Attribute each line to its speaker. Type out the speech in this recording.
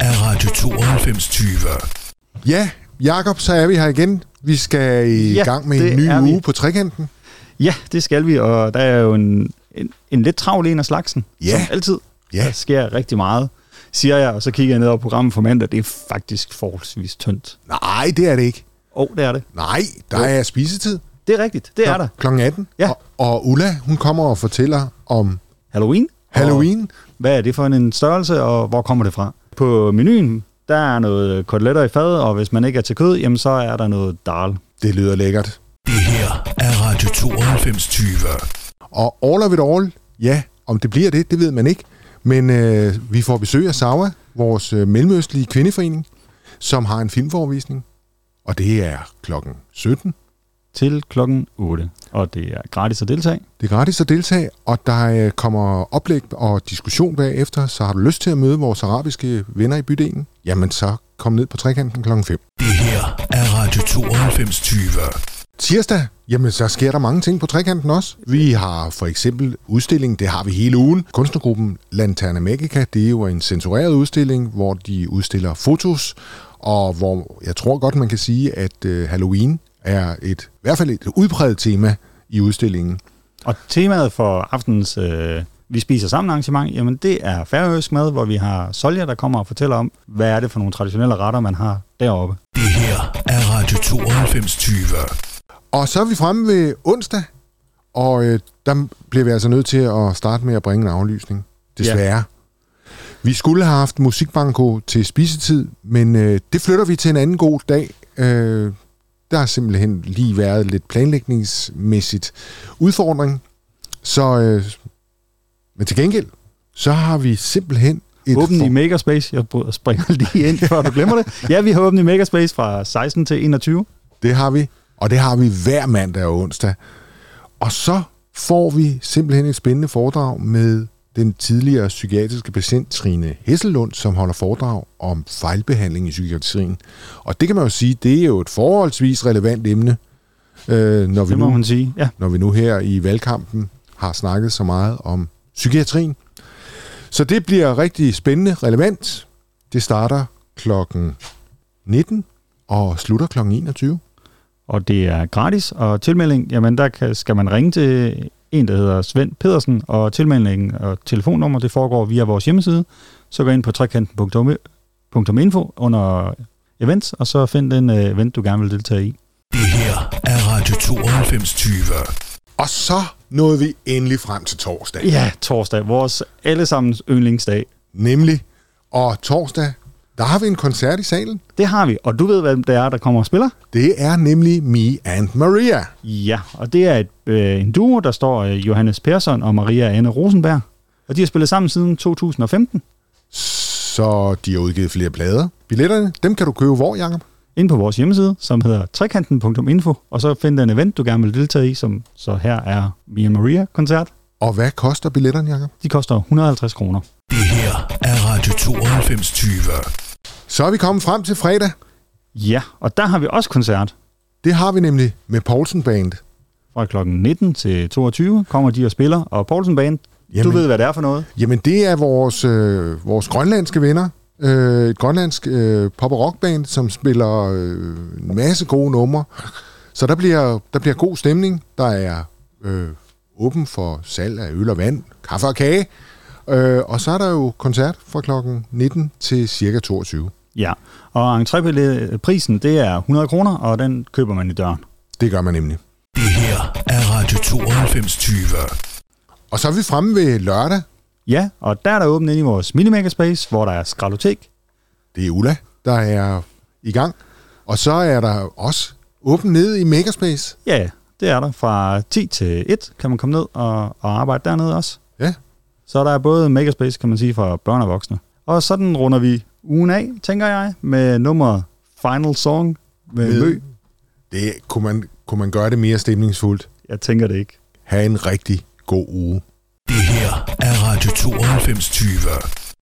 Speaker 1: Radio 9220.
Speaker 2: Ja, Jakob, så er vi her igen. Vi skal i
Speaker 3: Ja,
Speaker 2: ja, gang med
Speaker 3: det
Speaker 2: en
Speaker 3: er
Speaker 2: ny
Speaker 3: vi.
Speaker 2: uge på trekanten.
Speaker 3: Ja, det skal vi, og der er jo en, en, en lidt travl en af slagsen.
Speaker 2: Ja.
Speaker 3: Som altid.
Speaker 2: Ja.
Speaker 3: Der sker rigtig meget, siger jeg, og så kigger jeg ned over programmet for mandag. Det er faktisk forholdsvis tyndt.
Speaker 2: Nej, det er det ikke.
Speaker 3: Og oh, det er det.
Speaker 2: Nej, der er spisetid.
Speaker 3: Det er rigtigt. Det er der.
Speaker 2: Klokken 18.
Speaker 3: Ja.
Speaker 2: Og, og Ulla, hun kommer og fortæller om
Speaker 3: Halloween.
Speaker 2: Halloween.
Speaker 3: Og hvad er det for en størrelse, og hvor kommer det fra? På menuen, der er noget koteletter i fad, og hvis man ikke er til kød, jamen så er der noget dal.
Speaker 2: Det lyder lækkert.
Speaker 1: Det her er Radio 9220.
Speaker 2: Og all of it all, ja, om det bliver det, det ved man ikke. Men øh, vi får besøg af Sawa, vores øh, mellemøstlige kvindeforening, som har en filmforvisning. Og det er klokken 17.
Speaker 3: Til klokken 8. Og det er gratis at deltage.
Speaker 2: Det er gratis at deltage, og der øh, kommer oplæg og diskussion bagefter, så har du lyst til at møde vores arabiske venner i bydelen, jamen så kom ned på trekanten klokken 5.
Speaker 1: Det her er Radio 9220.
Speaker 2: Tirsdag, jamen så sker der mange ting på trekanten også. Vi har for eksempel udstilling, det har vi hele ugen. Kunstnergruppen Lanterna Magica, det er jo en censureret udstilling, hvor de udstiller fotos, og hvor jeg tror godt, man kan sige, at øh, Halloween er et, i hvert fald et udpræget tema i udstillingen.
Speaker 3: Og temaet for aftenens øh, Vi spiser sammen arrangement, jamen det er færøsk mad, hvor vi har Solja, der kommer og fortæller om, hvad er det for nogle traditionelle retter, man har deroppe.
Speaker 1: Det her er Radio 9220.
Speaker 2: Og så er vi fremme ved onsdag, og øh, der bliver vi altså nødt til at starte med at bringe en aflysning. Desværre. Ja. Vi skulle have haft musikbanko til spisetid, men øh, det flytter vi til en anden god dag. Øh, der har simpelthen lige været lidt planlægningsmæssigt udfordring. Så, øh, men til gengæld, så har vi simpelthen et...
Speaker 3: Åben
Speaker 2: for-
Speaker 3: i Megaspace, jeg bryder- springer lige ind, før du glemmer det. Ja, vi har åbent i Megaspace fra 16 til 21.
Speaker 2: Det har vi, og det har vi hver mandag og onsdag. Og så får vi simpelthen et spændende foredrag med den tidligere psykiatriske patient Trine Hesselund, som holder foredrag om fejlbehandling i psykiatrien. Og det kan man jo sige, det er jo et forholdsvis relevant emne, øh, når, vi
Speaker 3: Det må
Speaker 2: nu,
Speaker 3: man sige. Ja,
Speaker 2: når vi nu her i valgkampen har snakket så meget om psykiatrien. Så det bliver rigtig spændende, relevant. Det starter klokken 19 og slutter klokken 21.
Speaker 3: og det er gratis, og tilmelding, jamen der kan, skal man ringe til en, der hedder Svend Pedersen, og tilmeldingen og telefonnummer, det foregår via vores hjemmeside. Så gå ind på trekanten.info under events, og så find den øh, event, du gerne vil deltage i.
Speaker 1: Det her er Radio 9220.
Speaker 2: Og så nåede vi endelig frem til torsdag.
Speaker 3: Ja, torsdag, vores allesammens yndlingsdag.
Speaker 2: Nemlig. Og torsdag, der har vi en koncert i salen.
Speaker 3: Det har vi, og du ved, hvem det er, der kommer og spiller?
Speaker 2: Det er nemlig Me and Maria.
Speaker 3: Ja, og det er et, øh, en duo, der står øh, Johannes Persson og Maria Anne Rosenberg. Og de har spillet sammen siden 2015,
Speaker 2: Så de har udgivet flere plader. Billetterne, dem kan du købe hvor, Jacob?
Speaker 3: inde på vores hjemmeside, som hedder trekanten.info, og så find den event, du gerne vil deltage i, som så her er Mia Maria-koncert.
Speaker 2: Og hvad koster billetterne, Jacob?
Speaker 3: De koster 150 kroner.
Speaker 1: Det her er Radio 9220.
Speaker 2: Så er vi kommet frem til fredag.
Speaker 3: Ja, og der har vi også koncert.
Speaker 2: Det har vi nemlig med Poulsen Band.
Speaker 3: Fra kl. 19 til 22 kommer de og spiller, og Poulsen Band, du
Speaker 2: Jamen.
Speaker 3: ved, hvad det er for noget.
Speaker 2: Jamen, det er vores, øh, vores grønlandske venner. Øh, et grønlandsk øh, pop- og rockband, som spiller øh, en masse gode numre. Så der bliver, der bliver god stemning. Der er øh, åben for salg af øl og vand, kaffe og kage. Øh, og så er der jo koncert fra klokken 19 til cirka 22.
Speaker 3: Ja, og entréprisen, det er 100 kroner, og den køber man i døren.
Speaker 2: Det gør man nemlig.
Speaker 1: Det her er Radio 9220.
Speaker 2: Og så er vi fremme ved lørdag.
Speaker 3: Ja, og der er der åbent inde i vores minimakerspace, hvor der er skralotek.
Speaker 2: Det er Ulla, der er i gang. Og så er der også åben nede i Megaspace.
Speaker 3: Ja, det er der. Fra 10 til 1 kan man komme ned og, og arbejde dernede også.
Speaker 2: Ja,
Speaker 3: Så der er både makerspace, kan man sige, for børn og voksne. Og sådan runder vi ugen af, tænker jeg, med nummer Final Song med,
Speaker 2: Med-
Speaker 3: med. Mø.
Speaker 2: Det kunne man, kunne man gøre det mere stemningsfuldt.
Speaker 3: Jeg tænker det ikke.
Speaker 2: Ha' en rigtig god uge.
Speaker 1: Det her er Radio 9220.